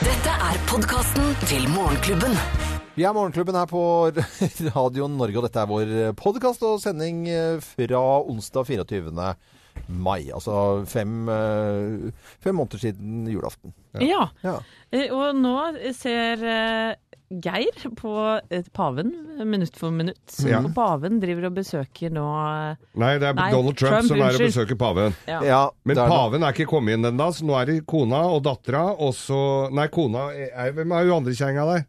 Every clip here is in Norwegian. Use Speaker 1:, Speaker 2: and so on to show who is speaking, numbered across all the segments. Speaker 1: er podkasten til Morgenklubben.
Speaker 2: Vi er Morgenklubben her på Radio Norge, og dette er vår podkast og sending eh, fra onsdag 24. mai. Altså fem, eh, fem måneder siden julaften.
Speaker 3: Ja.
Speaker 2: Ja.
Speaker 3: eh, Og nå ser eh, Geir på eh, paven minutt for minutt.
Speaker 4: Ja.
Speaker 3: Og paven driver og besøker nå eh,
Speaker 4: Nei, det er
Speaker 3: Nei,
Speaker 4: Donald Trump,
Speaker 3: Trump,
Speaker 4: som er og
Speaker 3: unnskyld.
Speaker 4: besøker paven.
Speaker 3: ja.
Speaker 2: Ja,
Speaker 4: Men
Speaker 2: det er noe-
Speaker 4: paven er ikke kommet inn ennå, så nå er det kona og dattera, og så Nei, kona er, Hvem er jo andre kjerringa der?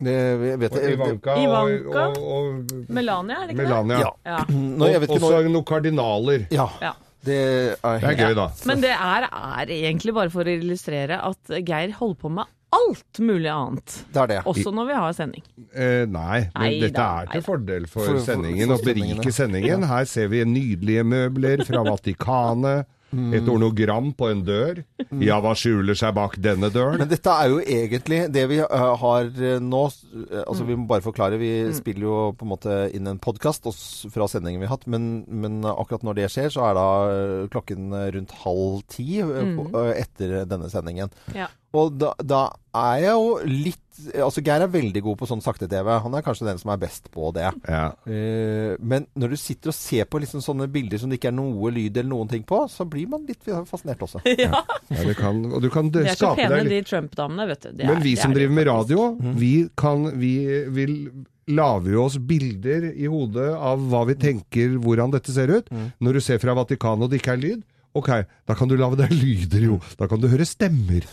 Speaker 2: det, vet jeg, det,
Speaker 4: Ivanka, og,
Speaker 3: Ivanka?
Speaker 4: og, og
Speaker 3: Melania, er det ikke
Speaker 4: Melania.
Speaker 2: Ja.
Speaker 3: det? Ja.
Speaker 2: Nå, jeg vet
Speaker 4: Og
Speaker 2: ikke
Speaker 4: så
Speaker 2: når
Speaker 4: noen kardinaler.
Speaker 2: Ja.
Speaker 3: Ja.
Speaker 2: Det er,
Speaker 4: Det er gøy, da.
Speaker 3: Men det er, er egentlig bare for å illustrere at Geir holder på med alt mulig annet.
Speaker 2: Det er det.
Speaker 3: Også når vi har sending.
Speaker 4: Eh, nei, men
Speaker 3: Nei
Speaker 4: dette
Speaker 3: da,
Speaker 4: er
Speaker 3: nei
Speaker 4: til fordel for,
Speaker 2: For- for-
Speaker 4: sendingen,
Speaker 2: for
Speaker 4: og beriker
Speaker 2: sendingene.
Speaker 4: sendingen. Her ser vi nydelige møbler fra Vatikanet.
Speaker 2: Mm.
Speaker 4: Et ornogram på en dør. Ja, hva skjuler seg bak denne døren?
Speaker 2: Men dette er jo egentlig det vi eh, har eh, nå eh, Altså Vi må bare forklare. Vi spiller jo på en måte inn en podkast fra sendingen vi har hatt, men, men akkurat når det skjer, så er da eh, klokken rundt halv ti eh, på- eh, etter denne sendingen.
Speaker 3: Ja.
Speaker 2: Og da, da er jeg jo litt Altså Geir er veldig god på sånn sakte-TV. Han er kanskje den som er best på det.
Speaker 4: Ja.
Speaker 2: Eh, Men når du sitter og ser på liksom sånne bilder som det ikke er noe lyd eller noen ting på, så blir man litt fascinert også.
Speaker 4: Ja, det kan, og du kan
Speaker 3: De er så
Speaker 4: skape
Speaker 3: pene,
Speaker 4: deg litt
Speaker 3: de Trump-damene, vet du. De er- Mhm.
Speaker 4: Men vi
Speaker 3: de
Speaker 4: som
Speaker 3: er-
Speaker 4: driver med radio, vi kan Vi vil lager jo oss bilder i hodet av hva vi tenker, hvordan dette ser ut.
Speaker 3: Mhm.
Speaker 4: Når du ser fra Vatikanet og det ikke er lyd, ok, da kan du lage deg lyder, jo. Da kan du høre stemmer.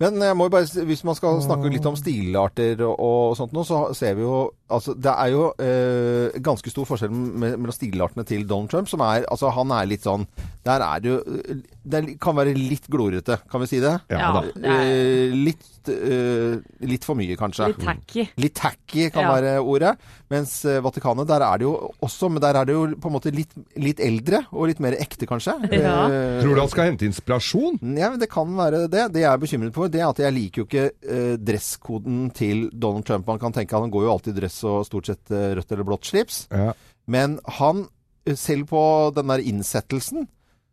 Speaker 2: Men jeg må jo bare, s- hvis man skal snakke litt om stilarter og, og sånt nå, så ser vi jo Altså, det er jo eh, ganske stor forskjell me- mellom stilartene til Donald Trump, som er Altså, han er litt sånn Der er det jo eh, Det er, kan være litt glorete, kan vi si det?
Speaker 4: Ja da.
Speaker 3: det er
Speaker 2: Eh, litt, eh, litt for mye, kanskje.
Speaker 3: Litt tacky.
Speaker 2: Litt tacky kan
Speaker 3: Ja.
Speaker 2: være ordet. Mens eh, Vatikanet, der er det jo også Men der er det jo på en måte litt, litt eldre og litt mer ekte, kanskje.
Speaker 3: Ja.
Speaker 2: Eh,
Speaker 4: Tror du han skal hente inspirasjon?
Speaker 2: Mm, ja, men Det kan være det. Det jeg er bekymret for, det er at jeg liker jo ikke eh, dresskoden til Donald Trump. Man kan tenke at han går jo alltid i dress og stort sett eh, rødt eller blått slips.
Speaker 4: Ja.
Speaker 2: Men han, eh, selv på den der innsettelsen,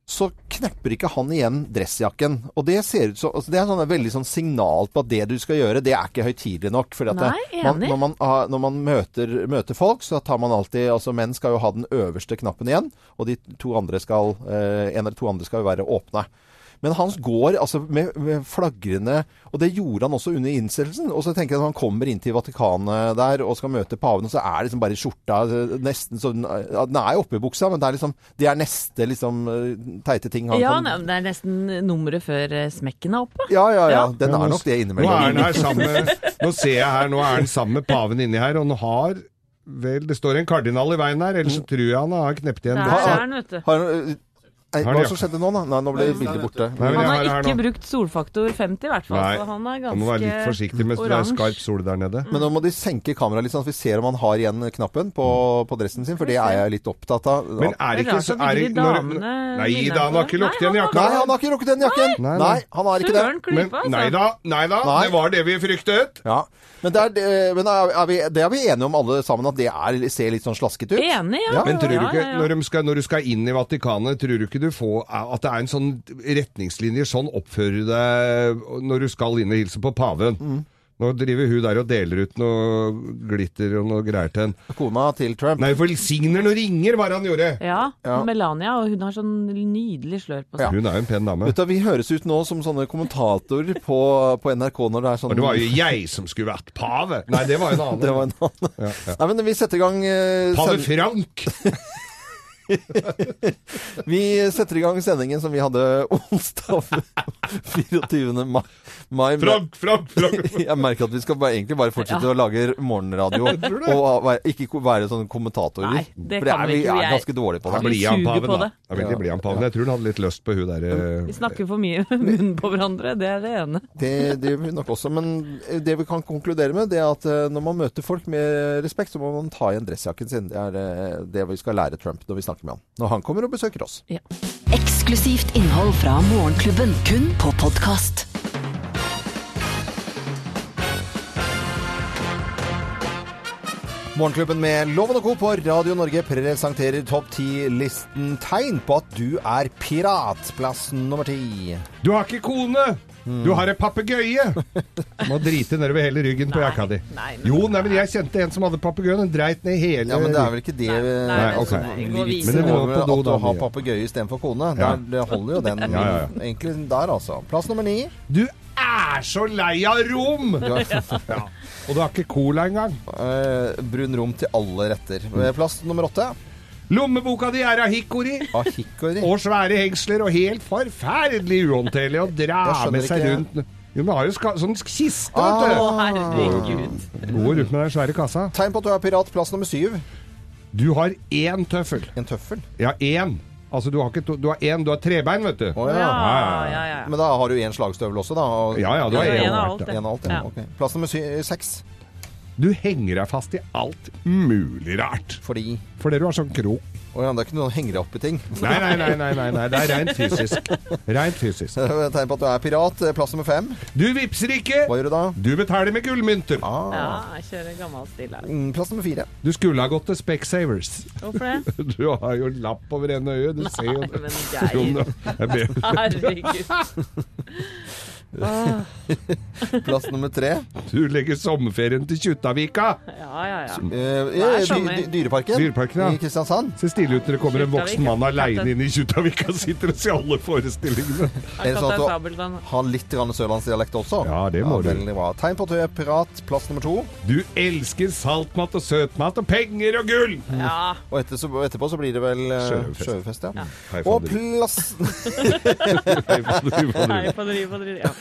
Speaker 2: så knepper ikke han igjen dressjakken. Og det ser ut som altså Det er sånn et veldig sånn signal på at det du skal gjøre, det er ikke høytidelig nok. Fordi at
Speaker 3: Nei,
Speaker 2: det, man,
Speaker 3: enig.
Speaker 2: når man, har- når man møter, møter folk, så tar man alltid Altså menn skal jo ha den øverste knappen igjen, og de to andre skal eh, En eller to andre skal jo være åpne. Men hans går altså med, med flagrende Og det gjorde han også under innsettelsen. Og så tenker jeg at han kommer inn til Vatikanet der og skal møte paven, og så er det liksom bare i skjorta eh, nesten så Den ja, den er oppe i buksa, men det er liksom Det er neste liksom eh, teite ting han
Speaker 3: Ja,
Speaker 2: kan
Speaker 3: nei, men det er nesten nummeret før eh, smekken er oppe.
Speaker 2: ja, ja, ja.
Speaker 3: Ja.
Speaker 2: Den
Speaker 4: Ja,
Speaker 2: er
Speaker 4: nå-
Speaker 2: nok det
Speaker 4: Nå er han
Speaker 2: innimellom.
Speaker 4: her sammen med Nå ser jeg her, nå er han sammen med paven inni her, og han har Vel, det står en kardinal i veien her, ellers så tror jeg han har knept igjen.
Speaker 3: Der
Speaker 4: dress.
Speaker 3: er den, vet du.
Speaker 2: Har, øh, nei,
Speaker 4: Har
Speaker 2: hva
Speaker 4: de
Speaker 2: som skjedde nå, da? Nei, nå ble bildet borte.
Speaker 4: Nei, men
Speaker 3: Han
Speaker 4: jeg
Speaker 3: har
Speaker 4: her
Speaker 3: ikke
Speaker 4: nå.
Speaker 3: brukt solfaktor 50 i hvert fall,
Speaker 4: Nei,
Speaker 3: så han er
Speaker 4: Han må være litt
Speaker 3: ganske
Speaker 4: forsiktig mens det er
Speaker 3: oransje.
Speaker 4: skarp sol der nede.
Speaker 2: Men nå må de senke kameraet litt, sånn at vi ser om han har igjen knappen på, på dressen sin, for det er jeg litt opptatt av.
Speaker 4: Men er det
Speaker 3: Det er
Speaker 4: ikke
Speaker 3: rart
Speaker 4: så
Speaker 3: at ikke
Speaker 4: er
Speaker 3: de
Speaker 4: det- når-
Speaker 3: damene
Speaker 4: Nei
Speaker 3: vinner
Speaker 4: da, han har
Speaker 3: på
Speaker 4: ikke
Speaker 3: det.
Speaker 4: lukket igjen
Speaker 3: Nei, han
Speaker 4: jakka.
Speaker 2: Nei, han har ikke rukket den jakken! Nei,
Speaker 4: Nei, nei.
Speaker 2: han har ikke det.
Speaker 3: Søren klype,
Speaker 4: Men,
Speaker 3: altså.
Speaker 4: nei da, nei da,
Speaker 2: Nei.
Speaker 4: det var det vi fryktet.
Speaker 2: Ja. Men, det er, det- men er, er vi, det er vi enige om alle sammen, at det er, ser litt sånn slasket ut?
Speaker 3: Enig, ja.
Speaker 2: Ja,
Speaker 4: Men tror du
Speaker 3: Ja,
Speaker 4: ikke,
Speaker 3: ja, ja.
Speaker 4: når, de skal, når du skal inn i Vatikanet, tror du ikke du får at det er en sånn retningslinjer, sånn oppfører du deg når du skal inn og hilse på paven? Nå driver hun der og deler ut noe glitter og noe greier til henne.
Speaker 2: Kona til Trump.
Speaker 4: Nei, velsigner noen ringer, var det han gjorde!
Speaker 3: Ja,
Speaker 2: Ja.
Speaker 3: Melania, og hun har sånn nydelig slør på seg.
Speaker 4: Hun er jo en pen dame.
Speaker 2: Vet du, Vi høres ut nå som sånne kommentatorer på, på NRK når det er sånn
Speaker 4: Og det var jo jeg som skulle vært pave! Nei, det var en
Speaker 2: Det
Speaker 4: annen.
Speaker 2: var en annen. Nei, men vi setter i gang eh,
Speaker 4: Pave
Speaker 2: send-
Speaker 4: Frank!
Speaker 2: Vi setter i gang sendingen som vi hadde onsdag 24. mai. mai men
Speaker 4: Frank, Frank, Frank!
Speaker 2: jeg merker at vi skal bare, egentlig bare fortsette å lage morgenradio
Speaker 4: tror det.
Speaker 2: og være- ikke ko- være sånne kommentatorer.
Speaker 3: Nei, det
Speaker 2: For det
Speaker 3: kan
Speaker 2: er,
Speaker 3: vi
Speaker 2: vi
Speaker 3: ikke,
Speaker 2: er
Speaker 3: vi er-
Speaker 2: ganske dårlige på
Speaker 4: Da
Speaker 2: det.
Speaker 3: blir-
Speaker 4: blir han
Speaker 3: suger på
Speaker 4: paven, da.
Speaker 3: det.
Speaker 4: Da vil de bli han paven. Jeg tror han hadde litt lyst på hun eh, derre
Speaker 3: Vi snakker for mye med munnen på hverandre, det er det ene.
Speaker 2: Det, det gjør vi nok også. Men eh, det vi kan konkludere med, det er at eh, når man møter folk med respekt, så må man ta igjen dressjakken sin. Det er eh, det vi skal lære Trump når vi snakker med han. Når han kommer og besøker oss.
Speaker 1: Eksklusivt innhold fra Morgenklubben, kun på podkast.
Speaker 2: Morgenklubben med Loven og Co. på Radio Norge presenterer topp ti-listen tegn på at du er pirat. Plass nummer ti.
Speaker 4: Du har ikke kone! Du har en papegøye!
Speaker 2: Mm.
Speaker 4: Må drite nedover hele ryggen på
Speaker 3: Nei,
Speaker 4: jakka di.
Speaker 3: nei, men-
Speaker 4: Jo, nei, men jeg kjente en som hadde papegøyen. Den dreit ned hele
Speaker 2: Ja, men det er vel ikke det
Speaker 3: Nei, nei,
Speaker 4: Nei, ok.
Speaker 3: gå videre.
Speaker 2: Vitsen
Speaker 4: Men det må
Speaker 2: over
Speaker 4: på do
Speaker 2: at du
Speaker 4: da,
Speaker 2: har
Speaker 4: mye.
Speaker 2: papegøye istedenfor kone.
Speaker 4: Ja.
Speaker 2: Der, det holder jo den
Speaker 4: Ja, ja, ja.
Speaker 2: egentlig der, altså. Plass nummer ni.
Speaker 4: Du er så lei av rom!
Speaker 2: Du har,
Speaker 4: Ja. Og du har ikke cola engang.
Speaker 2: eh, brun rom til alle retter. Eh, Plass nummer åtte.
Speaker 4: Lommeboka di er av hikori.
Speaker 2: Ah, Ahikori.
Speaker 4: Og svære hengsler og helt forferdelig uhåndterlig å dra
Speaker 2: Jeg skjønner
Speaker 4: med seg
Speaker 2: ikke-
Speaker 4: rundt. Jo, men har jo ska sånn
Speaker 2: Ah,
Speaker 4: kiste,
Speaker 3: Å,
Speaker 4: vet
Speaker 3: herregud.
Speaker 4: du. Går rundt med den svære kassa.
Speaker 2: Tegn på at du er pirat. Plass nummer syv.
Speaker 4: Du har én tøffel.
Speaker 2: En tøffel.
Speaker 4: Ja, én. Altså, du har ikke to. Du har én, du har trebein, vet du.
Speaker 2: Å
Speaker 3: Ja,
Speaker 2: ja.
Speaker 3: ja, ja.
Speaker 2: Men da har du én slagstøvel også, da. og-
Speaker 4: Ja, ja, du har
Speaker 3: Ja,
Speaker 4: én
Speaker 3: en av
Speaker 4: av
Speaker 3: alt,
Speaker 4: hvert.
Speaker 3: ja.
Speaker 4: da.
Speaker 2: En og alt, ja. Ok. Plass nummer sy seks.
Speaker 4: Du henger deg fast i alt mulig rart.
Speaker 2: Fordi
Speaker 4: Fordi du har sånn krok.
Speaker 2: Å ja, det er ikke noe å henge deg opp i ting.
Speaker 4: Nei, nei, nei, nei, nei, nei. det er rent fysisk. Rent fysisk.
Speaker 2: Tegn på at du er pirat. Eh, Plass nummer fem.
Speaker 4: Du vipser ikke!
Speaker 2: Hva gjør du da?
Speaker 4: Du betaler med gullmynter.
Speaker 2: Ah.
Speaker 3: ja kjøre gammel stil her.
Speaker 2: Mm, Plass nummer fire.
Speaker 4: Du skulle ha gått til Specsavers.
Speaker 3: Hvorfor det?
Speaker 4: Du har jo lapp over ene øyet. Du ser jo
Speaker 3: Nei, men
Speaker 4: Jo,
Speaker 3: Geir.
Speaker 4: nå- jeg ber-
Speaker 3: Herregud. Åh,
Speaker 2: Plass nummer tre.
Speaker 4: Du legger sommerferien til Kjuttaviga!
Speaker 3: ja, ja, ja.
Speaker 2: Eh,
Speaker 3: Det er
Speaker 2: dy-
Speaker 3: sommer.
Speaker 2: dy- dyreparken
Speaker 4: Dyreparken, ja.
Speaker 2: i Kristiansand.
Speaker 4: Se stille ut når det kommer en
Speaker 3: Kjuttaviga.
Speaker 4: voksen mann aleine inn i Kjuttaviga og sitter og ser alle forestillingene.
Speaker 2: Er det sånn at du-
Speaker 3: Sabeltann.
Speaker 2: Ha litt grann sørlandsdialekt også.
Speaker 4: Ja, det må du.
Speaker 2: veldig Bra. Tegn på at du er pirat. Plass nummer to.
Speaker 4: Du elsker saltmat og søtmat og penger og gull!
Speaker 3: Ja.
Speaker 2: Og etter, så, etterpå så blir det vel eh,
Speaker 4: Sjørøverfest.
Speaker 2: sjørøverfest. Ja.
Speaker 4: Hei,
Speaker 2: Og
Speaker 4: fader.
Speaker 2: plass,
Speaker 4: Hei, fader,
Speaker 3: Nei,
Speaker 4: fader.
Speaker 3: på driv, på driv. Ja.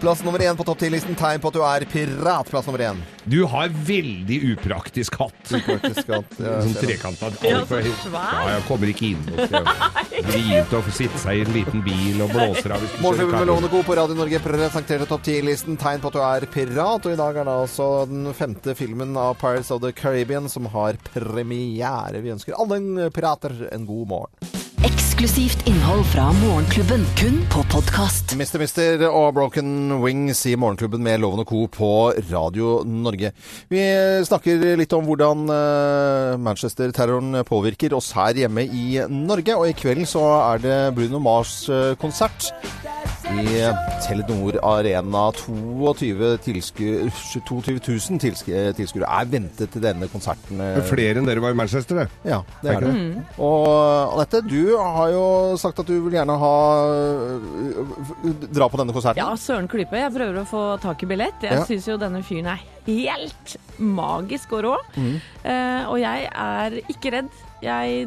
Speaker 2: plass nummer én på topp ti-listen. Tegn på at du er pirat. Plass nummer én.
Speaker 4: Du har veldig upraktisk hatt.
Speaker 2: Faktisk at, eh,
Speaker 4: Sånn trekanta.
Speaker 3: Ja, så svær.
Speaker 4: Ja, jeg kommer ikke inn. Vrient og sitte seg i en liten bil og blåser av. hvis du
Speaker 2: Morgenklubben med
Speaker 4: kjører kaffe.
Speaker 2: Lovende Co. på Radio Norge presenterte topp 10-listen tegn på at du er pirat. Og i dag er det altså den femte filmen av Pirates of the Caribbean som har premiere. Vi ønsker alle en pirater en god morgen.
Speaker 1: Eksklusivt innhold fra Morgenklubben, kun på podkast.
Speaker 2: Mister Mister og Broken Wings i Morgenklubben med Lovende Co. på Radio Norge. Vi snakker litt om hvordan eh, Manchester-terroren påvirker oss her hjemme i Norge. Og i kveld så er det Bruno Mars eh, konsert. I Telenor Arena 22 tilskuere 22 000 tilsku- eh, tilskuere er ventet til denne konserten. eh.
Speaker 4: Flere enn dere var i Manchester, det.
Speaker 2: Ja, det er det.
Speaker 3: Mm.
Speaker 2: Og Anette, du har jo sagt at du vil gjerne ha eh, dra på denne konserten.
Speaker 3: Ja, Søren Klype. Jeg prøver å få tak i billett. Jeg
Speaker 2: Ja.
Speaker 3: syns jo denne fyren er helt magisk og rå.
Speaker 2: Mm.
Speaker 3: Eh, og jeg er ikke redd. Jeg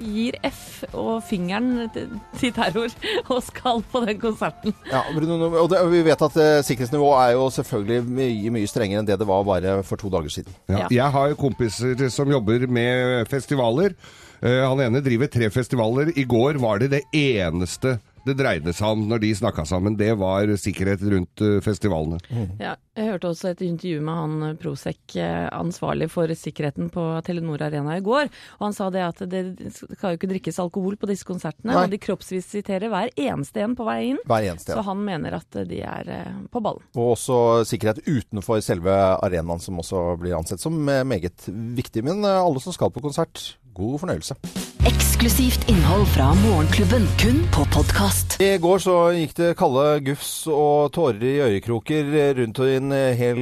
Speaker 3: gir F og fingeren til til terror og skal på den konserten.
Speaker 2: Ja, Bruno, og det, og vi vet at eh, sikkerhetsnivået er jo selvfølgelig mye, mye strengere enn det det var bare for to dager siden.
Speaker 4: Ja.
Speaker 3: Ja.
Speaker 4: Jeg har kompiser som jobber med festivaler. Eh, han ene driver tre festivaler. I går var det det eneste det dreide seg om når de snakka sammen. Det var sikkerhet rundt eh, festivalene.
Speaker 3: Ja, jeg hørte også et intervju med han eh, Prosec, eh, ansvarlig for sikkerheten på Telenor Arena i går. Og han sa det at det skal jo ikke drikkes alkohol på disse konsertene.
Speaker 2: Nei.
Speaker 3: Og de kroppsvisiterer hver eneste en på vei inn.
Speaker 2: Hver eneste
Speaker 3: Så
Speaker 2: en.
Speaker 3: han mener at eh, de er eh, på ballen.
Speaker 2: Og også sikkerhet utenfor selve arenaen, som også blir ansett som eh, meget viktig. Men eh, alle som skal på konsert, god fornøyelse.
Speaker 1: Eksklusivt innhold fra Morgenklubben, kun på podkast.
Speaker 2: I går så gikk det kalde gufs og tårer i øyekroker rundt i en hel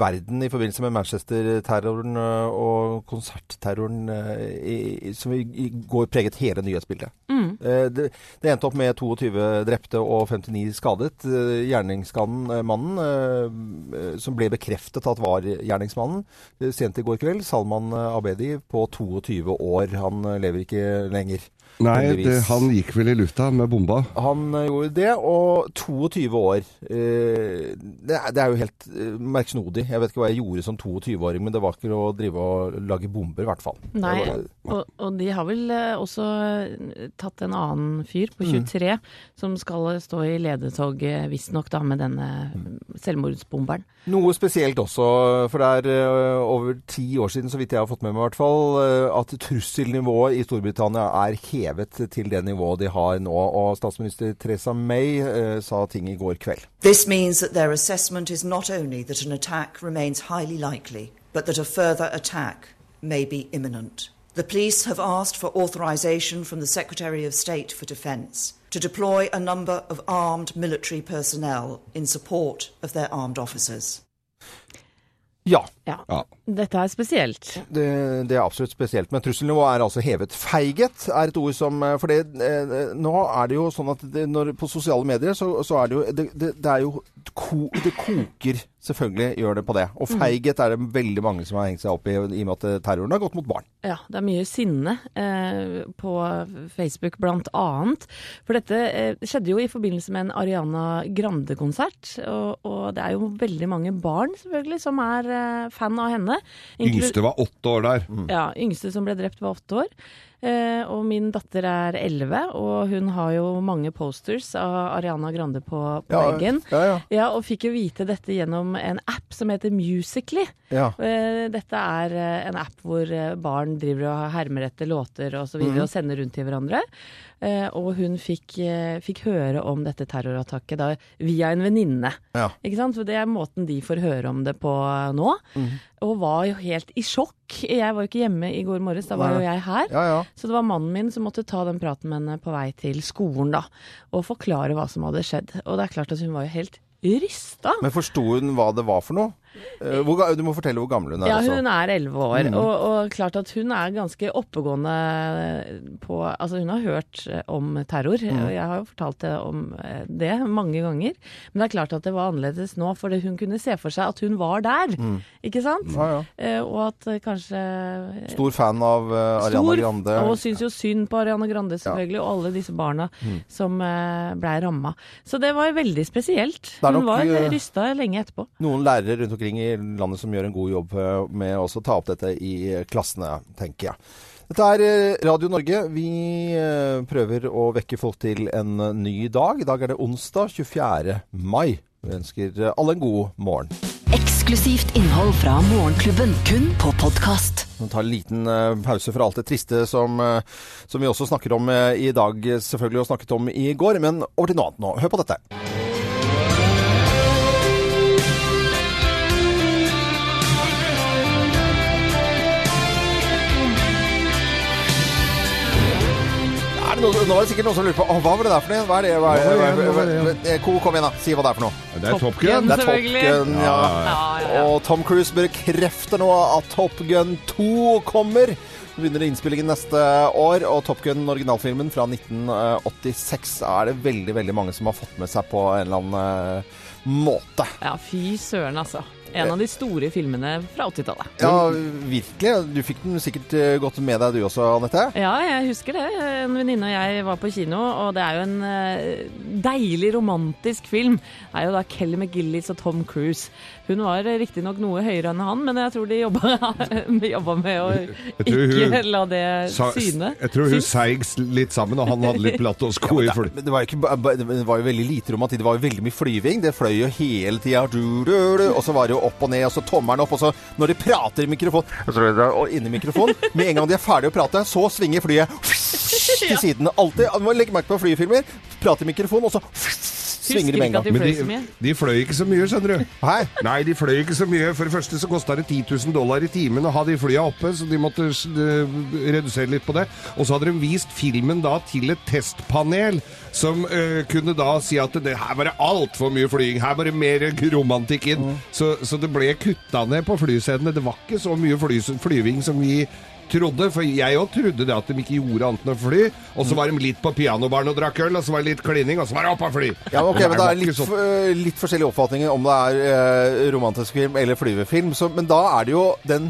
Speaker 2: verden i forbindelse med Manchester-terroren eh, og konsertterroren eh, i- i- som i i går preget hele nyhetsbildet. Eh, Det, det endte opp med 22 drepte og 59 skadet. Eh, Gjerningsmannen, eh, eh, som ble bekreftet at var gjerningsmannen, eh, sent i går kveld, Salman eh, Abedi på 22 år. Han eh, lever ikke lenger.
Speaker 4: Nei,
Speaker 2: Heldigvis.
Speaker 4: det, han gikk vel i lufta med bomba.
Speaker 2: Han eh, gjorde det, og 22 år eh, Det er, det er jo helt eh, merksnodig. Jeg vet ikke hva jeg gjorde som 22-åring, men det var ikke å drive og lage bomber, i hvert fall.
Speaker 3: Nei,
Speaker 2: Det var- eh,
Speaker 3: og, og de har vel eh, også eh, tatt en annen fyr på 23 som skal eh, stå i ledetoget, eh, visstnok da, med denne eh, selvmordsbomberen.
Speaker 2: Noe spesielt også, for det er eh, over ti år siden, så vidt jeg har fått med meg i hvert fall, eh, at trusselnivået i Storbritannia er hevet til det nivået de har nå. Og statsminister Theresa May eh, sa ting i går kveld.
Speaker 5: This means that their assessment is not only that an attack remains highly likely, but that a further attack may be imminent. The police have asked for authorisation from the Secretary of State for Defence to deploy a number of armed military personnel in support of their armed officers.
Speaker 2: Ja,
Speaker 3: Ja.
Speaker 4: Ja.
Speaker 3: Dette er spesielt.
Speaker 2: det, det er absolutt spesielt. Men trusselnivået er altså hevet. Feighet er et ord som eh, For det, eh, nå er det jo sånn at det, når, på sosiale medier så, så er det jo Det, det, det er jo ko, Det koker, selvfølgelig gjør det på det. Og
Speaker 3: Mm.
Speaker 2: feighet er det veldig mange som har hengt seg opp i, i og med at eh, terroren har gått mot barn.
Speaker 3: Ja, det er mye sinne eh, på Facebook blant annet. For dette eh, skjedde jo i forbindelse med en Ariana Grande-konsert. Og, og det er jo veldig mange barn selvfølgelig som er eh, fan av henne. Inklu-
Speaker 4: Yngste var åtte år der.
Speaker 2: Mm. Mhm.
Speaker 3: Ja, yngste som ble drept var åtte år. Eh, og min datter er elleve, og hun har jo mange posters av Ariana Grande på, på
Speaker 2: Ja,
Speaker 3: veggen.
Speaker 2: ja, ja.
Speaker 3: og fikk jo vite dette gjennom en app som heter Musically.
Speaker 2: Ja.
Speaker 3: Eh, Dette er eh, en app hvor eh, barn driver og hermer etter låter og så
Speaker 2: Mhm.
Speaker 3: videre, og sender rundt til hverandre. Eh, Og hun fikk, eh, fikk høre om dette terrorattaket da, via en venninne.
Speaker 2: Ja.
Speaker 3: Ikke sant? For det er måten de får høre om det på eh, nå.
Speaker 2: Mm.
Speaker 3: Og var jo helt i sjokk. Jeg var jo ikke hjemme i går morges, da var jo jeg her.
Speaker 2: Ja, ja.
Speaker 3: Så det var mannen min som måtte ta den praten med henne på vei til skolen, da. Og forklare hva som hadde skjedd. Og det er klart at hun var jo helt rysta.
Speaker 2: Men forsto hun hva det var for noe? Eh, Hvor, ga- du må fortelle hvor gammel hun er.
Speaker 3: Ja,
Speaker 2: altså.
Speaker 3: hun er 11 år, og, og klart at hun er ganske oppegående på Altså, hun har hørt eh, om terror,
Speaker 2: Mm.
Speaker 3: og jeg har jo fortalt det om eh, det mange ganger. Men det er klart at det var annerledes nå, for det- hun kunne se for seg at hun var der,
Speaker 2: Mm.
Speaker 3: ikke sant?
Speaker 2: Ja, ja.
Speaker 3: Eh, Og at eh, kanskje
Speaker 2: Stor fan av eh, Ariana Grande.
Speaker 3: og syns jo synd på Ariana Grande, selvfølgelig, og alle disse barna
Speaker 2: Mm.
Speaker 3: som eh, blei ramma. Så det var veldig spesielt.
Speaker 2: er nok,
Speaker 3: Hun var
Speaker 2: eh,
Speaker 3: rysta lenge etterpå.
Speaker 2: Noen lærere rundt omkring i landet som gjør en god jobb eh, med også å ta opp dette i eh, klassene, tenker jeg. Dette er eh, Radio Norge. Vi eh, prøver å vekke folk til en eh, ny dag. I dag er det onsdag 24. mai. Vi ønsker eh, alle en god morgen.
Speaker 1: Eksklusivt innhold fra Morgenklubben, kun på podkast.
Speaker 2: Vi tar en liten eh, pause fra alt det triste som, eh, som vi også snakker om eh, i dag, eh, selvfølgelig, og snakket om i går. Men over til noe annet nå. Hør på dette. Er det noe, nå var det sikkert noen som lurer på «Åh, hva var det der for noe? Hva er det? Hva er det?
Speaker 4: Hva var det igjen? Hva var det igjen?
Speaker 2: Eh, Ko, kom igjen, da. Si hva det er for noe.
Speaker 4: Det er
Speaker 3: Top
Speaker 4: Top
Speaker 3: Gun.
Speaker 4: Gun.
Speaker 2: Det er Top
Speaker 3: Selvfølgelig.
Speaker 2: Gun, ja. Og Tom Cruise bekrefter nå at Top Gun 2 kommer. Så begynner innspillingen neste år, og Top Gun, originalfilmen fra 1986, er det veldig, veldig mange som har fått med seg på en eller annen eh, måte.
Speaker 3: Ja, fy søren, altså. En av de store filmene fra 80-tallet.
Speaker 2: Ja, virkelig. Du fikk den sikkert eh, godt med deg, du også, Anette.
Speaker 3: Ja, jeg husker det. En venninne og jeg var på kino, og det er jo en eh, deilig romantisk film. Det er jo da Kelly McGillis og Tom Cruise. Hun var eh, riktignok noe høyere enn han, men jeg tror de jobba, jobba med å
Speaker 4: Jeg tror
Speaker 3: ikke
Speaker 4: hun
Speaker 3: la det
Speaker 4: Sa-
Speaker 3: syne.
Speaker 4: Jeg tror hun
Speaker 3: Syns.
Speaker 4: seig litt sammen, og han hadde litt platåsko i fly.
Speaker 2: Men det var, jo ikke, ba- ba- det var jo veldig lite romantikk. Det var jo veldig mye flyving. Det fløy jo hele tida. Du, du, du. Og så var det jo opp og ned, og så tommelen opp. Og så når de prater i mikrofonen og så er det da- Og inni mikrofonen Med en gang de er ferdige å prate, så svinger flyet til siden. Alltid. Du må legge merke på flyfilmer. Prater i mikrofonen, og så svinger de med en
Speaker 3: ikke
Speaker 2: gang.
Speaker 3: at de
Speaker 4: Men
Speaker 3: fløy så
Speaker 4: de,
Speaker 3: mye.
Speaker 4: de fløy ikke så mye, skjønner du.
Speaker 2: Hæ?
Speaker 4: Nei, de fløy ikke så mye. For det første så kosta det 10 000 dollar i timen å ha de flya oppe, så de måtte s- de, redusere litt på det. Og så hadde de vist filmen da til et testpanel, som eh, kunne da si at det, her var det altfor mye flying, her var det mer romantikk inn. Så, så det ble kutta ned på flysedene. Det var ikke så mye fly, flyving som vi trodde, for jeg òg trodde det at de ikke gjorde annet enn å fly. Og så var de litt på pianobaren og drakk øl, og så var det litt klining, og så var det opp og fly.
Speaker 2: Ja, ok, men Det
Speaker 4: var
Speaker 2: er
Speaker 4: ikke
Speaker 2: litt,
Speaker 4: sånn.
Speaker 2: f- eh, litt forskjellige oppfatninger om det er eh, romantisk film eller flyvefilm. Så, men da er det jo den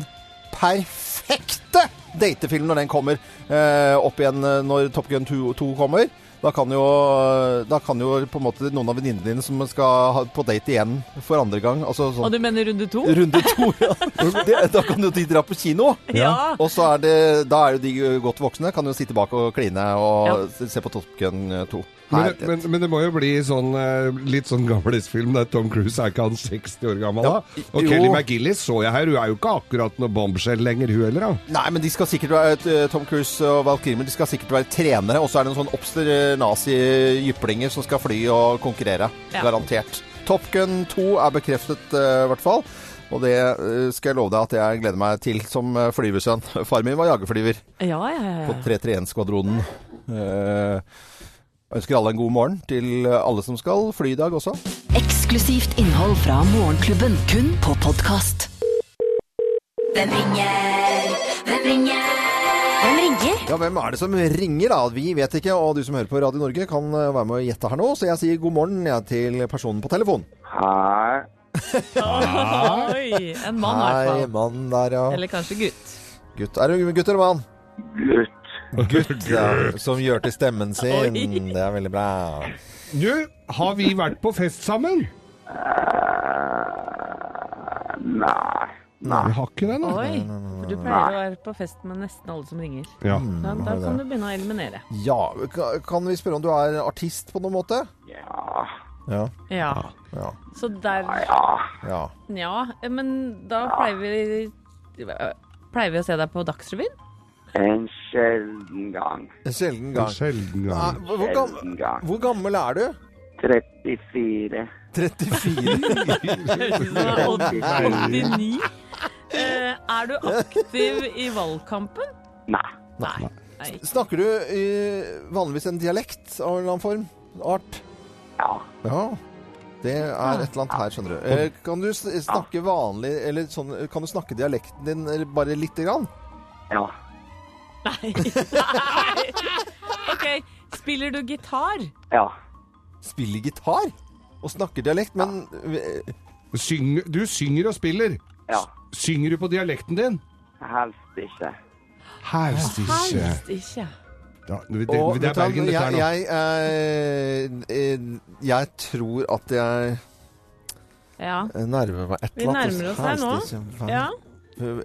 Speaker 2: perfekte datefilm når den kommer eh, opp igjen eh, når Top Gun 2, 2 kommer. Da kan, jo, eh, da kan jo på en måte noen av venninnene dine som skal ha- på date igjen for andre gang altså
Speaker 3: Og
Speaker 2: sånn,
Speaker 3: du mener runde to?
Speaker 2: Runde to, ja. Det, da kan jo de dra på kino.
Speaker 3: Ja.
Speaker 2: Og så er det, da er jo de godt voksne. Kan jo sitte bak og kline og
Speaker 3: Ja.
Speaker 2: se- se på Top Gun 2.
Speaker 4: Men,
Speaker 2: Herlighet.
Speaker 4: men, men det må jo bli sånn, eh, litt sånn gamlesfilm der Tom Cruise er ikke han 60 år gammel da?
Speaker 2: Ja,
Speaker 4: Og
Speaker 2: jo.
Speaker 4: Kelly McGillis så jeg her, hun er jo ikke akkurat noe bombshell lenger hun heller da.
Speaker 2: Nei, men de skal sikkert være eh, Tom Cruise og Val Kilmer de skal sikkert være trenere. Og så er det noen sånn obster eh, nazi-jyplinger som skal fly og konkurrere.
Speaker 3: Ja.
Speaker 2: Garantert. Top Gun 2 er bekreftet, eh, i hvert fall. Og det eh, skal jeg love deg at jeg gleder meg til som eh, flyversønn. Far min var jagerflyver
Speaker 3: Ja, ja, ja.
Speaker 2: på
Speaker 3: ja.
Speaker 2: 331-skvadronen. Eh, Ønsker alle en god morgen til alle som skal fly i dag også.
Speaker 1: Eksklusivt innhold fra Morgenklubben, kun på podkast.
Speaker 6: Hvem ringer? Hvem ringer? Hvem ringer?
Speaker 2: Ja, hvem er det som ringer da? Vi vet ikke, og du som hører på Radio Norge kan eh, være med og gjette her nå, så jeg sier god morgen jeg, til personen på telefon.
Speaker 7: Hei.
Speaker 3: Oi, en mann i hvert fall.
Speaker 2: mann der, ja.
Speaker 3: Eller kanskje gutt.
Speaker 2: Gutt, er du gutt eller mann?
Speaker 7: Gutt.
Speaker 2: Gutt, ja. Som gjør til stemmen sin.
Speaker 3: Oi.
Speaker 2: Det er veldig bra.
Speaker 4: Du, har vi vært på fest sammen?
Speaker 7: Eh, nei.
Speaker 4: Nei. Vi har ikke det, nå.
Speaker 3: Oi, for du pleier å være på fest med nesten alle som ringer.
Speaker 4: Ja.
Speaker 3: Da, da kan du begynne å eliminere.
Speaker 2: Ja, ka- kan vi spørre om du er artist på noen måte?
Speaker 7: Ja.
Speaker 2: Ja.
Speaker 3: Ja.
Speaker 2: Ja.
Speaker 3: Så der
Speaker 7: Ja.
Speaker 2: ja.
Speaker 3: Nja, men da pleier vi Pleier vi å se deg på Dagsrevyen?
Speaker 7: En sjelden gang.
Speaker 2: En sjelden
Speaker 4: En
Speaker 2: gang.
Speaker 4: sjelden
Speaker 2: Nei,
Speaker 4: gang.
Speaker 2: hvor, hvor,
Speaker 7: Sjelden
Speaker 2: gammel,
Speaker 7: gang.
Speaker 2: hvor gammel er du?
Speaker 7: 34.
Speaker 2: 34.
Speaker 3: Høres ut som du er 89. Eh, er du aktiv i valgkampen?
Speaker 7: Nei.
Speaker 3: Nei. Nei.
Speaker 2: Snakker du eh, vanligvis en dialekt av en eller annen form? Art?
Speaker 7: Ja.
Speaker 2: Ja. Det er et eller annet her, skjønner du. Eh, kan du s- snakke vanlig, eller sånn, kan du snakke dialekten din eh, bare lite grann?
Speaker 7: Ja.
Speaker 3: Nei. Nei. OK. Spiller du gitar?
Speaker 7: Ja.
Speaker 2: Spiller gitar og snakker dialekt, men eh,
Speaker 4: Syng, du synger og spiller.
Speaker 7: Ja.
Speaker 4: Synger du på dialekten din?
Speaker 7: Helst ikke.
Speaker 4: Helst ikke.
Speaker 3: Helst ikke.
Speaker 4: Ja, det, det,
Speaker 2: og, vet
Speaker 4: det er
Speaker 2: du hva,
Speaker 4: Bergen, dette her
Speaker 2: jeg,
Speaker 4: nå.
Speaker 2: jeg, eh, eh, jeg tror at jeg
Speaker 3: Ja.
Speaker 2: nærmer meg et
Speaker 3: Vi
Speaker 2: eller annet.
Speaker 3: nærmer oss her nå. Ja.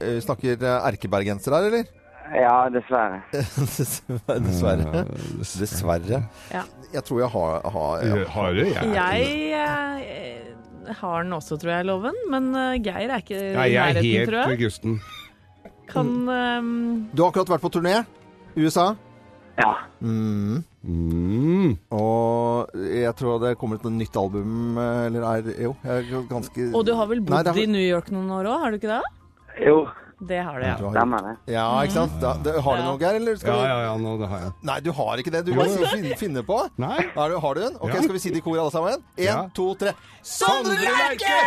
Speaker 2: Eh, Snakker eh, erkebergenser her, eller?
Speaker 7: Ja, dessverre.
Speaker 2: Dessverre. Dessverre.
Speaker 3: Ja.
Speaker 2: Jeg tror jeg har, har ja.
Speaker 4: Har du? Jeg,
Speaker 3: Jeg eh, har den også, tror jeg, loven. Men eh, Geir er ikke
Speaker 4: Nei,
Speaker 3: i
Speaker 4: jeg er
Speaker 3: nærheten,
Speaker 4: helt
Speaker 3: tror
Speaker 4: ved
Speaker 3: jeg.
Speaker 4: gusten.
Speaker 3: Kan eh,
Speaker 2: Du har akkurat vært på turné. USA.
Speaker 7: Ja.
Speaker 4: Mm.
Speaker 2: Og jeg tror det kommer et nytt album, eh, eller er Jo, jeg er ganske
Speaker 3: Og du har vel
Speaker 2: Nei,
Speaker 3: bodd
Speaker 2: det har-
Speaker 3: i New York noen år òg, har du ikke det?
Speaker 7: Jo,
Speaker 3: Det har du, ja.
Speaker 2: har-
Speaker 7: stemmer det.
Speaker 2: Ja, ikke sant? Da, det, har du
Speaker 3: Ja.
Speaker 2: noe, Geir? Eller skal
Speaker 4: Ja,
Speaker 2: du
Speaker 4: ja, ja, nå det har jeg.
Speaker 2: Nei, du har ikke det. Du må finne, finne på.
Speaker 4: Nei.
Speaker 2: Har du, har du den? Ok,
Speaker 4: Ja.
Speaker 2: Skal vi si det i kor, alle sammen? Én,
Speaker 4: Ja.
Speaker 2: to, tre. Sondre Lerche!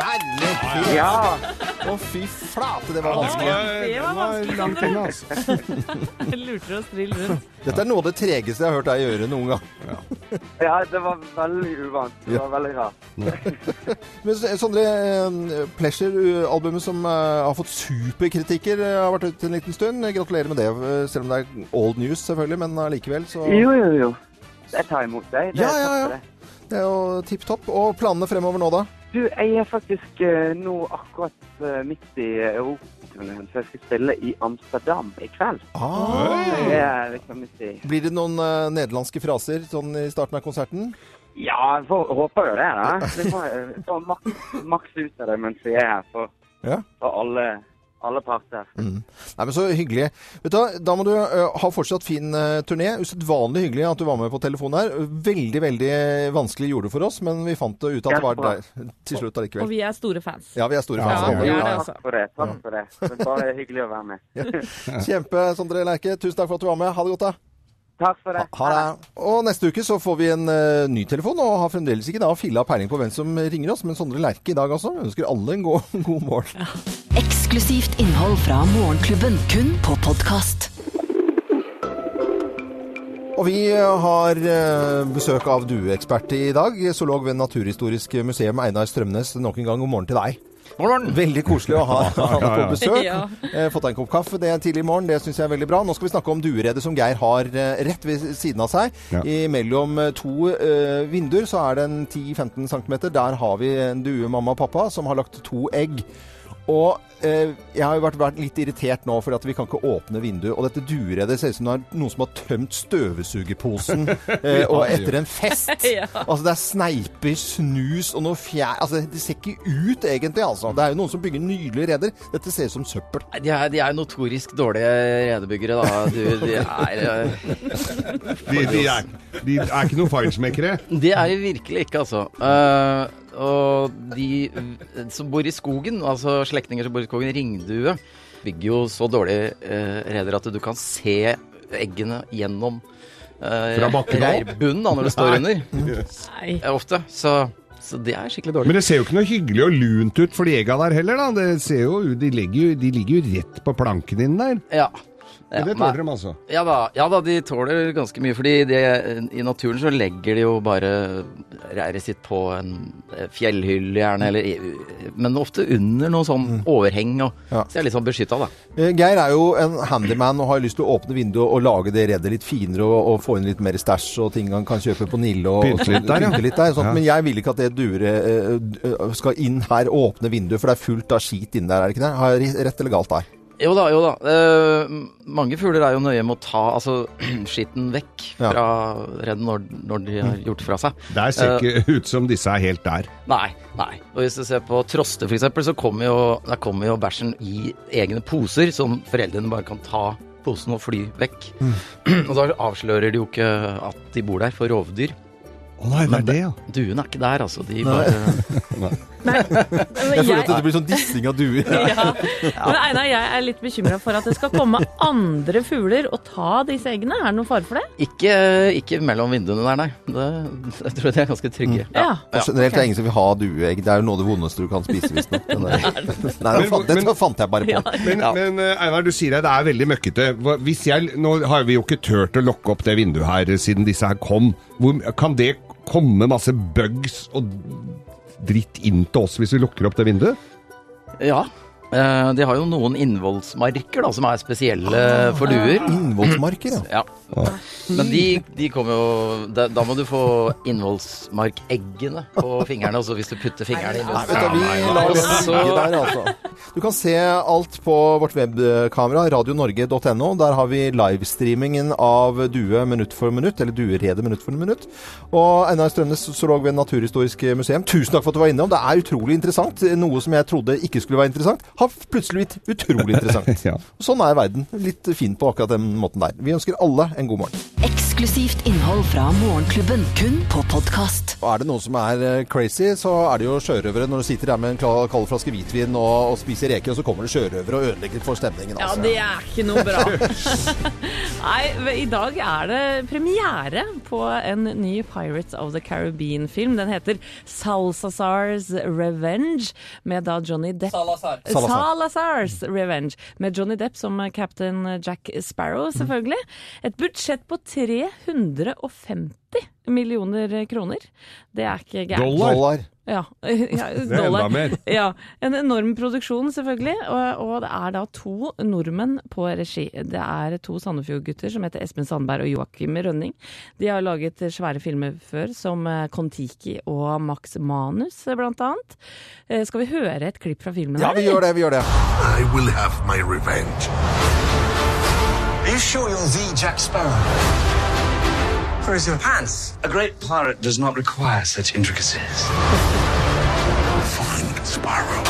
Speaker 2: Herlighet!
Speaker 7: Ja.
Speaker 2: Å, fy flate, det var
Speaker 3: det
Speaker 2: vanskelig.
Speaker 3: det var vanskelig,
Speaker 4: langt
Speaker 3: Sondre.
Speaker 4: unna, altså.
Speaker 3: Jeg lurte oss drill rundt.
Speaker 2: Dette er noe av det tregeste jeg har hørt deg gjøre noen gang.
Speaker 7: ja, det var veldig uvant. Det var veldig rart.
Speaker 2: Men S- Sondre, eh, Pleasure-albumet som eh, har fått superkritikker, eh, har vært ute en liten stund. Gratulerer med det, eh, selv om det er old news, selvfølgelig, men allikevel, så
Speaker 7: Jo, jo, jo. Jeg tar imot deg. Det
Speaker 2: Ja,
Speaker 7: er
Speaker 2: ja,
Speaker 7: takk
Speaker 2: ja.
Speaker 7: for det.
Speaker 2: Det er jo tipp topp. Og planene fremover nå, da?
Speaker 7: Du, jeg er faktisk eh, nå akkurat eh, midt i Europaturneen, så jeg skal spille i Amsterdam i kveld. Det er liksom midt i
Speaker 2: Blir det noen eh, nederlandske fraser sånn i starten av konserten?
Speaker 7: Ja, jeg får- håper jo det, da. Vi må eh, få maks, maks ut av det mens vi er her, for,
Speaker 2: Ja.
Speaker 7: for alle, alle parter.
Speaker 2: Nei, men så hyggelig. Vet du, hva, Da må du eh, ha fortsatt fin eh, turné. Usedvanlig hyggelig at du var med på telefonen her. Veldig, veldig vanskelig gjorde du for oss, men vi fant det ut at det var
Speaker 7: Ja.
Speaker 2: deg til slutt
Speaker 3: Og
Speaker 2: allikevel.
Speaker 3: vi er store fans.
Speaker 2: Ja, vi er store
Speaker 4: Ja,
Speaker 2: fans.
Speaker 4: vi er
Speaker 2: alle.
Speaker 3: det,
Speaker 2: Ja,
Speaker 3: altså.
Speaker 7: Takk for det. takk for det. Det er bare hyggelig å være med.
Speaker 2: Kjempe, Sondre Lerche. Tusen takk for at du var med. Ha det godt, da.
Speaker 7: Takk for det.
Speaker 2: Ha det. Og neste uke så får vi en eh, ny telefon, og har fremdeles ikke da filla peiling på hvem som ringer oss, men Sondre Lerche i dag også. Vi ønsker alle en god, god morgen.
Speaker 1: Eksklusivt innhold fra Morgenklubben, kun på podkast.
Speaker 2: Og vi eh, har eh, besøk av dueekspert i dag, zoolog ved Naturhistorisk museum, Einar Strømnes. Nok en gang god morgen til deg. Veldig koselig å ha han på besøk.
Speaker 3: Ja.
Speaker 2: Eh, Fått deg en kopp kaffe det er tidlig i morgen, det syns jeg er veldig bra. Nå skal vi snakke om dueredet som Geir har eh, rett ved siden av seg.
Speaker 4: Ja.
Speaker 2: I mellom eh, to eh, vinduer så er det en 10-15 cm. Der har vi en due, mamma og pappa, som har lagt to egg. Og eh, jeg har jo vært, vært litt irritert nå, for at vi kan ikke åpne vinduet. Og dette dueredet ser ut som det er noen som har tømt støvsugerposen eh, og etter en fest.
Speaker 3: Ja.
Speaker 2: Altså, det er sneiper, snus og noe fjær... Altså, det ser ikke ut egentlig, altså. Det er jo noen som bygger nydelige reder. Dette ser ut som søppel.
Speaker 8: Nei, De er, de er notorisk dårlige redebyggere, da. Du, de, er, eh,
Speaker 4: De, de, er, de er ikke noen feilsmekkere.
Speaker 8: de er de virkelig ikke, altså. Eh, og de som bor i skogen, altså slektninger som bor i skogen, ringdue, bygger jo så dårlige eh, reder at du kan se eggene gjennom eh,
Speaker 4: Fra bakken av?
Speaker 8: reirbunnen da, når det står under.
Speaker 3: Nei.
Speaker 8: Eh, Ofte. Så, så det er skikkelig dårlig.
Speaker 4: Men det ser jo ikke noe hyggelig og lunt ut for de egga der heller, da. Det ser jo, de, ligger jo, de ligger jo rett på planken din der.
Speaker 8: Ja.
Speaker 4: Men det
Speaker 8: nei.
Speaker 4: tåler de, altså.
Speaker 8: Ja da, ja da, de tåler ganske mye. Fordi det, i naturen så legger de jo bare reiret sitt på en fjellhylle, gjerne. Eller, men ofte under noe sånn overheng. Og,
Speaker 2: Mm. Ja.
Speaker 8: Så jeg er litt sånn beskytta, da.
Speaker 2: Eh, Geir er jo en handyman og har lyst til å åpne vinduet og lage det redet litt finere og, og få inn litt mer stæsj og ting han kan kjøpe på Nille. og
Speaker 4: Pynte litt der, ja.
Speaker 2: pynte litt der, sånn.
Speaker 4: Ja.
Speaker 2: Men jeg vil ikke at det duret eh, d- eh, skal inn her og åpne vinduet, for det er fullt av skit inne der, er det ikke det? Har jeg ri- rett eller galt der?
Speaker 8: Jo da, jo da. Eh, mange fugler er jo nøye med å ta altså, skitten vekk
Speaker 2: Ja. Mm.
Speaker 8: fra redet når, når de har gjort fra seg.
Speaker 4: Der ser ikke ut som disse er helt der.
Speaker 8: Nei, nei. Og hvis du ser på Troste f.eks., så kommer jo, der kommer jo bæsjen i egne poser, som foreldrene bare kan ta posen og fly vekk. og da avslører de jo ikke at de bor der, for rovdyr.
Speaker 4: Å nei, det er det, ja.
Speaker 8: Duene er ikke der, altså. De bare
Speaker 2: Jeg føler at
Speaker 3: jeg,
Speaker 2: det blir sånn dissing av duer.
Speaker 3: ja. Men Einar, jeg er litt bekymra for at det skal komme andre fugler og ta disse eggene. Er det noen fare for det?
Speaker 8: ikke, ikke mellom vinduene der, nei. Det, jeg tror de er ganske trygge.
Speaker 3: Mm. Ja.
Speaker 2: Og Generelt er det ingen som vil ha dueegg. Det er jo noe av det vondeste du kan spise, visstnok. Men det- Nei, det fant, dette fant jeg bare på.
Speaker 4: Men, men eh, Einar, du sier at det er veldig møkkete. Hva- Hvis jeg, nå har vi jo ikke tørt å lokke opp det vinduet her eh, siden disse her kom. Hvor, kan det komme masse bugs og dritt inn til oss hvis vi lukker opp det vinduet?
Speaker 8: Ja. Eh, de har jo noen innvollsmarker da, som er spesielle for duer.
Speaker 2: Innvollsmarker, ja.
Speaker 8: Ja. Men de, de kommer jo da, da må du få innholdsmarkeggene på fingrene, og så hvis du putter fingrene i
Speaker 2: Vet du,
Speaker 8: løs.
Speaker 2: vi lar det
Speaker 8: Så-
Speaker 2: ligge der, altså. Du kan se alt på vårt webkamera, radionorge.no. Der har vi livestreamingen av Due minutt for minutt, eller Dueredet minutt for minutt. Og Einar Strømnes, zoolog ved Naturhistorisk museum, tusen takk for at du var innom. Det er utrolig interessant. Noe som jeg trodde ikke skulle være interessant, har plutselig blitt utrolig interessant.
Speaker 4: Ja.
Speaker 2: Sånn er verden. Litt fin på akkurat den måten der. Vi ønsker alle en god morgen.
Speaker 1: Eksklusivt innhold fra Morgenklubben, kun på podkast.
Speaker 2: Og er det noen som er eh, crazy, så er det jo sjørøvere. Når du sitter der med en kla- kald flaske hvitvin og, og spiser reker, og så kommer det sjørøvere og ødelegger for stemningen.
Speaker 3: Ja,
Speaker 2: Altså.
Speaker 3: det er ikke noe bra. Nei, ve- i dag er det premiere på en ny Pirates of the Caribbean-film. Den heter Salsazar's Revenge, med da Johnny Depp Eh,
Speaker 2: Salazar.
Speaker 3: Salazar's Revenge, med Johnny Depp som eh, Captain Jack Sparrow,
Speaker 2: Mhm.
Speaker 3: selvfølgelig. Et budsjett på 350 millioner kroner. Det er ikke gærent.
Speaker 2: Dollar.
Speaker 3: Ja, ja
Speaker 4: er enda
Speaker 3: dollar.
Speaker 4: mer.
Speaker 3: Ja, en enorm produksjon selvfølgelig, og, og det er da to nordmenn på regi. Det er to Sandefjord-gutter som heter Espen Sandberg og Joakim Rønning. De har laget svære filmer før, som eh, Kon-Tiki og Max Manus eh, blant annet. Eh, Skal vi høre et klipp fra filmen?
Speaker 2: Ja, vi gjør det, vi gjør det.
Speaker 9: I will have my revenge.
Speaker 10: Are you sure you're the Jack Sparrow? Where is your pants? A great pirate does not require such intricacies.
Speaker 9: Find Sparrow.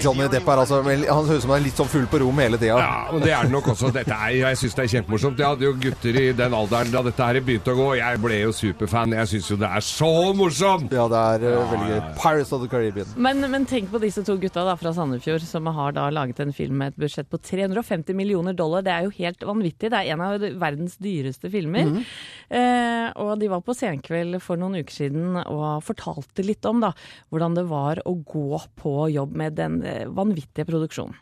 Speaker 2: Johnny Depp er altså vel- Han høres ut som han er litt sånn full på rom hele tida.
Speaker 4: Ja, og det er det nok også. Dette er, jeg syns det er kjempemorsomt. Jeg hadde jo gutter i den alderen da dette her begynte å gå. Jeg ble jo superfan. Jeg syns jo det er så morsomt!
Speaker 2: Ja, det er eh, veldig gøy. Pirates of the Caribbean.
Speaker 3: Men, men tenk på disse to gutta da, fra Sandefjord som har da laget en film med et budsjett på 350 millioner dollar. Det er jo helt vanvittig. Det er en av verdens dyreste filmer. Eh, og de var på senkveld for noen uker siden og fortalte litt om da, hvordan det var å gå på jobb med den eh, vanvittige produksjonen.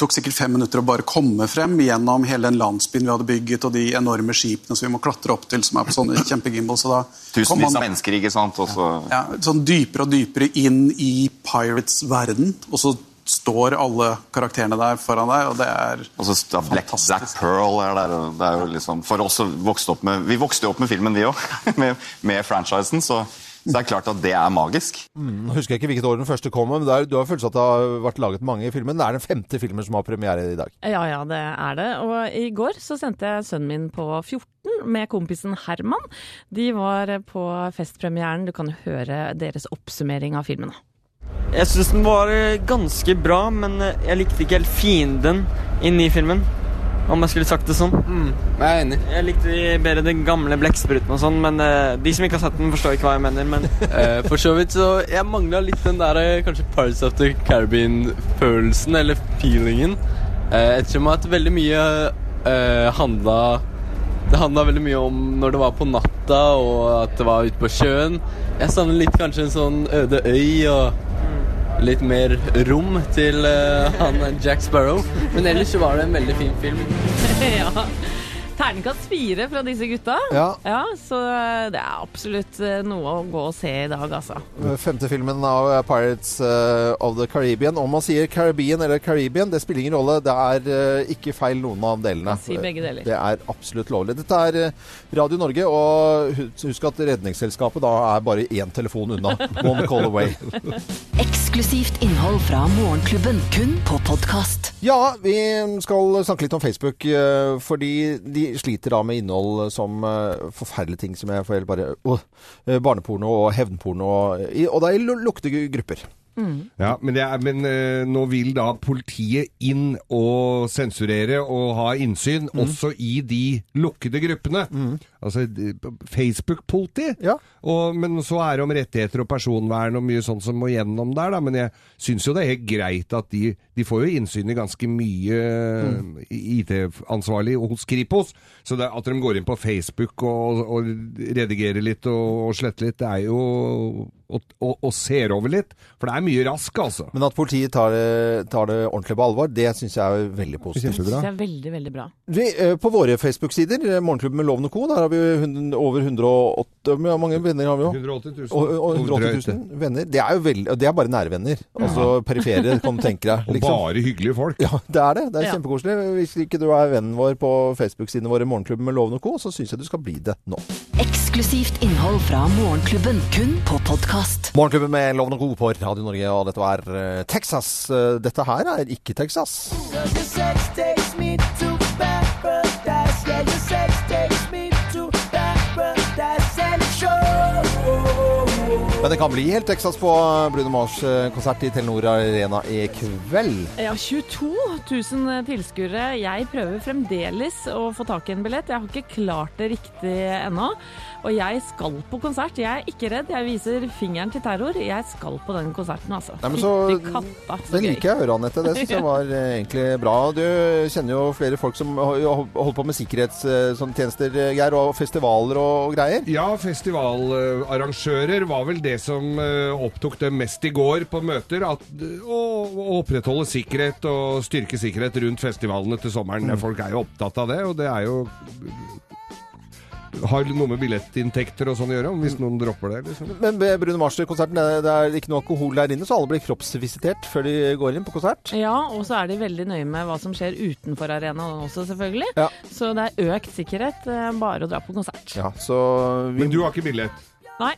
Speaker 11: tok sikkert fem minutter å bare komme frem gjennom hele den landsbyen vi hadde bygget, og de enorme skipene som vi må klatre opp til, som er på sånne kjempegimbals. Og da kom man
Speaker 10: mennesker, ikke sant? Og så
Speaker 11: ja, sånn dypere og dypere inn i Pirates' verden, og så står alle karakterene der foran deg, og det er
Speaker 10: Og så sta- Black, Black Pearl er der. og Det er jo liksom, for oss som vokste opp med, Vi vokste jo opp med filmen, vi òg. Med, med franchisen. Så, så det er klart at det er magisk.
Speaker 2: Nå husker jeg ikke hvilket år den første kom, men det er, du har følelsen av at det har vært laget mange filmer. Det er den femte filmen som har premiere i dag.
Speaker 3: Ja, ja, det er det. Og i går så sendte jeg sønnen min på 14 med kompisen Herman. De var på festpremieren. Du kan jo høre deres oppsummering av filmen. da.
Speaker 10: Jeg syns den var eh, ganske bra, men eh, jeg likte ikke helt fienden inni filmen. Om jeg skulle sagt det sånn.
Speaker 8: Jeg er enig.
Speaker 10: Jeg likte de bedre den gamle blekkspruten og sånn, men eh, de som ikke har sett den, forstår ikke hva jeg mener, men For så vidt, så jeg mangla litt den der eh, kanskje Pirates of the Caribbean-følelsen, Eh, eller feelingen. Ettersom at veldig mye eh, handla Det handla veldig mye om når det var på natta, og at det var ute på sjøen. Jeg savner litt kanskje en sånn øde øy og litt mer rom til eh, han Jack Sparrow. Men ellers så var det en veldig fin film.
Speaker 3: ja. Terningkast fire fra disse gutta.
Speaker 2: Ja.
Speaker 3: Så det er absolutt eh, noe å gå og se i dag, altså.
Speaker 2: Femte filmen av eh, Pirates eh, of the Caribbean. Om man sier Caribbean eller Caribbean, det spiller ingen rolle. Det er eh, ikke feil noen av delene.
Speaker 3: Si begge deler.
Speaker 2: Det er absolutt lovlig. Dette er eh, Radio Norge, og hu- husk at Redningsselskapet da er bare én telefon unna. One call away.
Speaker 1: Eksklusivt innhold fra Morgenklubben, kun på podkast.
Speaker 2: Ja, vi skal snakke litt om Facebook, eh, fordi de sliter da med innhold som eh, forferdelige ting som jeg får helt bare åh, eh, Barneporno og hevnporno, og, i- og da i lu- lukkede grupper.
Speaker 4: Ja, men, det er, men eh, nå vil da politiet inn og sensurere og ha innsyn også i de lukkede gruppene. Altså de- Facebook-politi. Og- Men så er det om rettigheter og personvern og mye sånt som må gjennom der, da. Men jeg syns jo det er helt greit at de, de får jo innsyn i ganske mye eh, IT-ansvarlig hos Kripos. Så det, at de går inn på Facebook og, og redigerer litt og, og sletter litt, det er jo og, og, og ser over litt. For det er mye rask, altså.
Speaker 2: Men at politiet tar det, tar det ordentlig på alvor, det syns jeg er veldig positivt.
Speaker 3: Det er veldig, veldig bra.
Speaker 2: Vi, eh, på våre Facebook-sider, eh, Morgenklubben med Loven og Co., der har vi hun- over 108 Hvor mange venner har vi òg?
Speaker 4: 180 000.
Speaker 2: Og, og 180 000 venner. Det er jo veldig, og det er bare nære venner. Altså perifere, kan du tenke deg.
Speaker 4: Og bare hyggelige folk.
Speaker 2: Ja, det er det. Det er
Speaker 4: Ja.
Speaker 2: kjempekoselig. Hvis ikke du er vennen vår på Facebook-sidene våre Morgenklubben med Loven og Co., så syns jeg du skal bli det nå.
Speaker 1: Eksklusivt innhold fra Morgenklubben, kun på podkast.
Speaker 2: Morgenklubben med Loven og Co. på Radio Norge, og dette var eh, Texas. Eh, Dette her er ikke Texas. Men det kan bli helt Texas på Bruno Mars-konsert i Telenor Arena i kveld.
Speaker 3: Ja, 22 000 tilskuere. Jeg prøver fremdeles å få tak i en billett. Jeg har ikke klart det riktig ennå. Og jeg skal på konsert. Jeg er ikke redd. Jeg viser fingeren til terror. Jeg skal på den konserten, altså.
Speaker 2: Nei, men så-
Speaker 3: Fytti katta, så
Speaker 2: Det
Speaker 3: gøy.
Speaker 2: liker jeg å høre, Anette. Det syns jeg var eh, egentlig bra. Du kjenner jo flere folk som ho- ho- holder på med eh, sikkerhetstjenester, Geir, og festivaler og greier.
Speaker 4: Ja, festivalarrangører var vel det som eh, opptok dem mest i går på møter. At, eh, å, å opprettholde sikkerhet og styrke sikkerhet rundt festivalene til sommeren.
Speaker 9: Mm.
Speaker 4: Folk er jo opptatt av det, og det er jo Har noe med billettinntekter og sånn å gjøre,
Speaker 9: Mm.
Speaker 4: om hvis noen dropper det. Liksom.
Speaker 2: Men ved Brune Mars-konserten, det det er ikke noe alkohol der inne, så alle blir kroppsvisitert før de går inn på konsert.
Speaker 3: Ja, og så er de veldig nøye med hva som skjer utenfor arenaen også, selvfølgelig.
Speaker 2: Ja.
Speaker 3: Så det er økt sikkerhet. eh, Bare å dra på konsert.
Speaker 2: Ja, så
Speaker 4: Men du har ikke billett?
Speaker 3: Nei.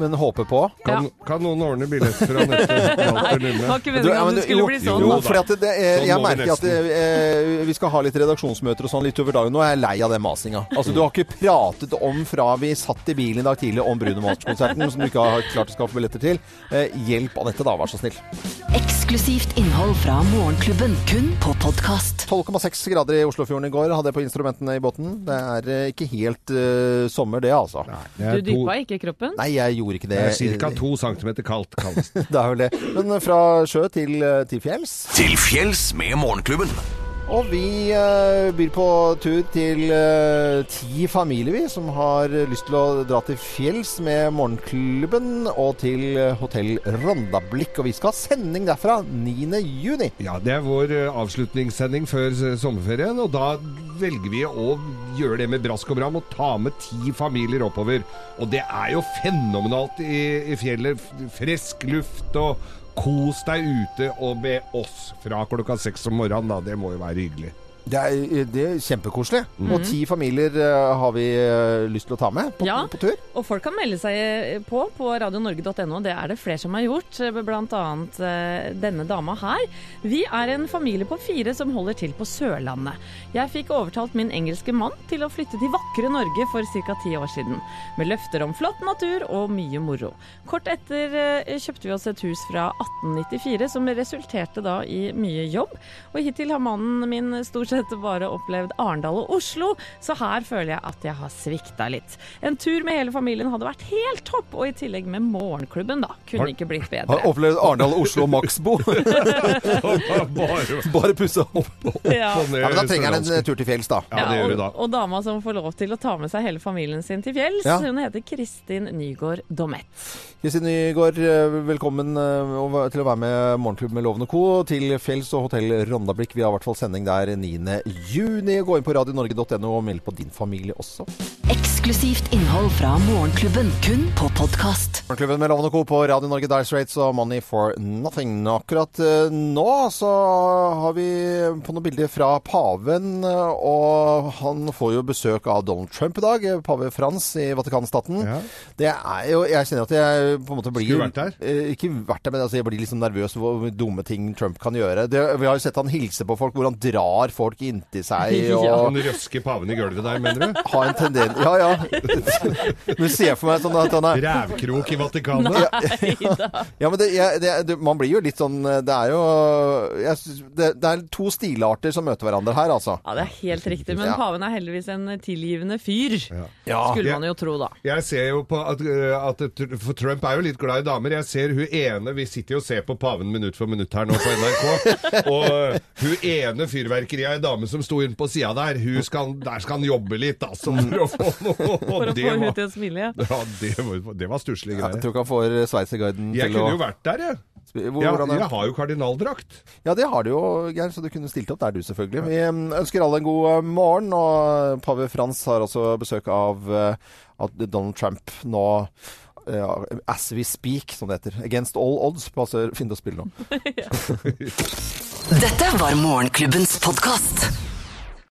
Speaker 2: Men håper på.
Speaker 4: Kan, kan noen ordne billett fra neste
Speaker 3: Nei, det var ikke meningen
Speaker 2: ja,
Speaker 3: at
Speaker 2: men
Speaker 3: det
Speaker 2: jo,
Speaker 3: skulle bli sånn,
Speaker 2: Jo,
Speaker 3: da.
Speaker 2: for at det, eh,
Speaker 4: Sånn
Speaker 2: jeg
Speaker 4: må det
Speaker 2: merker at
Speaker 4: nesten.
Speaker 2: eh, vi skal ha litt redaksjonsmøter og sånn litt over dagen. Nå er jeg lei av den masinga. Altså, du har ikke pratet om fra vi satt i bilen i dag tidlig om Bruno Mars-konserten, som du ikke har klart å skaffe billetter til. Eh, hjelp Anette, da, vær så snill.
Speaker 1: Eksklusivt innhold fra Morgenklubben, kun på podkast.
Speaker 2: 12,6 grader i Oslofjorden i går hadde jeg på instrumentene i båten. Det er eh, ikke helt eh, sommer, det, altså.
Speaker 3: Du dyppa ikke kroppen?
Speaker 2: Nei, jeg gjorde ikke det.
Speaker 4: Det er ca. to centimeter kaldt, kalles det.
Speaker 2: Det er vel det. Men fra sjø til, eh, til fjells.
Speaker 9: Til fjells med Morgenklubben.
Speaker 2: Og vi eh, byr på tur til eh, ti familier vi, som har lyst til å dra til fjells med morgenklubben og til eh, hotell Rondablikk. Og vi skal ha sending derfra 9. juni.
Speaker 4: Ja, det er vår eh, avslutningssending før eh, sommerferien, og da velger vi å gjøre det med brask og bram og ta med ti familier oppover. Og det er jo fenomenalt i, i fjellet. F- Frisk luft og kos deg ute og med oss fra klokka seks om morgenen, da. Det må jo være hyggelig.
Speaker 2: Det er, eh, det er kjempekoselig. Og ti familier eh, har vi eh, lyst til å ta med på,
Speaker 3: Ja.
Speaker 2: på tur.
Speaker 3: Og folk kan melde seg på på radionorge.no. Det er det flere som har gjort, blant annet eh, denne dama her. Vi er en familie på fire som holder til på Sørlandet. Jeg fikk overtalt min engelske mann til å flytte til vakre Norge for ca. ti år siden. Med løfter om flott natur og mye moro. Kort etter eh, kjøpte vi oss et hus fra 1894 som resulterte da i mye jobb. Og hittil har mannen min stort sett bare opplevd Arendal og Oslo, så her føler jeg at jeg har svikta litt. En tur med hele familien hadde vært helt topp, og i tillegg med morgenklubben, da. Kunne ikke blitt bedre.
Speaker 2: Har opplevd Arendal, Oslo og Maxbo.
Speaker 4: bare
Speaker 2: bare pusse opp.
Speaker 3: Ja.
Speaker 2: Ja, men da trenger han en eh, tur til fjells, da.
Speaker 3: Ja, og, og dama som får lov til å ta med seg hele familien sin til fjells,
Speaker 2: Ja.
Speaker 3: hun heter Kristin Nygaard Domet.
Speaker 2: Kristin Nygaard, eh, velkommen eh, og- til å være med Morgenklubben med Loven og Co. til Fjells og Hotell Rondablikk. Vi har i hvert fall sending der 9. juni. Gå inn på radionorge.no og meld på din familie også.
Speaker 1: Eksklusivt innhold fra Morgenklubben, kun på podkast.
Speaker 2: Morgenklubben med Loven og Co. på Radio Norge, Dire Straits og Money for Nothing. Akkurat eh, nå så har vi på noen bilder fra paven, eh, og han får jo besøk av Donald Trump i dag. eh, Pave Frans i Vatikanstaten. Det er jo Jeg kjenner at jeg på en måte blir
Speaker 4: Skulle vært der.
Speaker 2: Eh, ikke vært der, men altså, jeg blir liksom nervøs over hvor dumme ting Trump kan gjøre. Det, vi har jo sett han hilse på folk, hvor han drar folk inntil seg.
Speaker 4: Han
Speaker 2: Og
Speaker 4: røsker Sånn paven i gulvet der, mener du?
Speaker 2: har en tendens Ja, ja. Du ser for meg sånn at han er
Speaker 4: Rævkrok i Vatikanet?
Speaker 2: Ja, men det, jeg, det, det, man blir jo litt sånn Det er jo jeg, synes- det, det er to stilarter som møter hverandre her, altså.
Speaker 3: Ja, det er helt riktig, men
Speaker 2: Ja.
Speaker 3: paven er heldigvis en tilgivende fyr.
Speaker 2: Ja.
Speaker 3: Skulle
Speaker 4: Ja.
Speaker 3: man jo tro, da.
Speaker 4: Jeg ser jo på at, øh, at tr- For Trump er jo litt glad i damer. Jeg ser hun ene Vi sitter jo og ser på paven minutt for minutt her nå på NRK. Og øh, hun ene fyrverkeriet ei dame som sto inne på sida der, hun skal, der skal han jobbe litt, altså, for å få noe.
Speaker 3: For å
Speaker 4: Og
Speaker 3: få
Speaker 4: det
Speaker 3: henne
Speaker 4: var,
Speaker 3: til å smile.
Speaker 4: ja, det var, det var stusslige
Speaker 2: Jeg
Speaker 4: greier.
Speaker 2: tror ikke han får sveitserguiden
Speaker 4: Jeg
Speaker 2: til å
Speaker 4: kunne jo vært der, jeg.
Speaker 2: Hvor-
Speaker 4: Jeg,
Speaker 2: hvordan er-
Speaker 4: jeg har jo kardinaldrakt.
Speaker 2: Ja, det har du jo, Geir, så du kunne stilt opp der du, selvfølgelig. Vi eh, ønsker alle en god morgen, og eh, pave Frans har også besøk av, eh, av Donald Trump nå. eh, as we speak, som det heter. Against all odds. Passer fint å spille nå.
Speaker 1: Dette var Morgenklubbens podkast.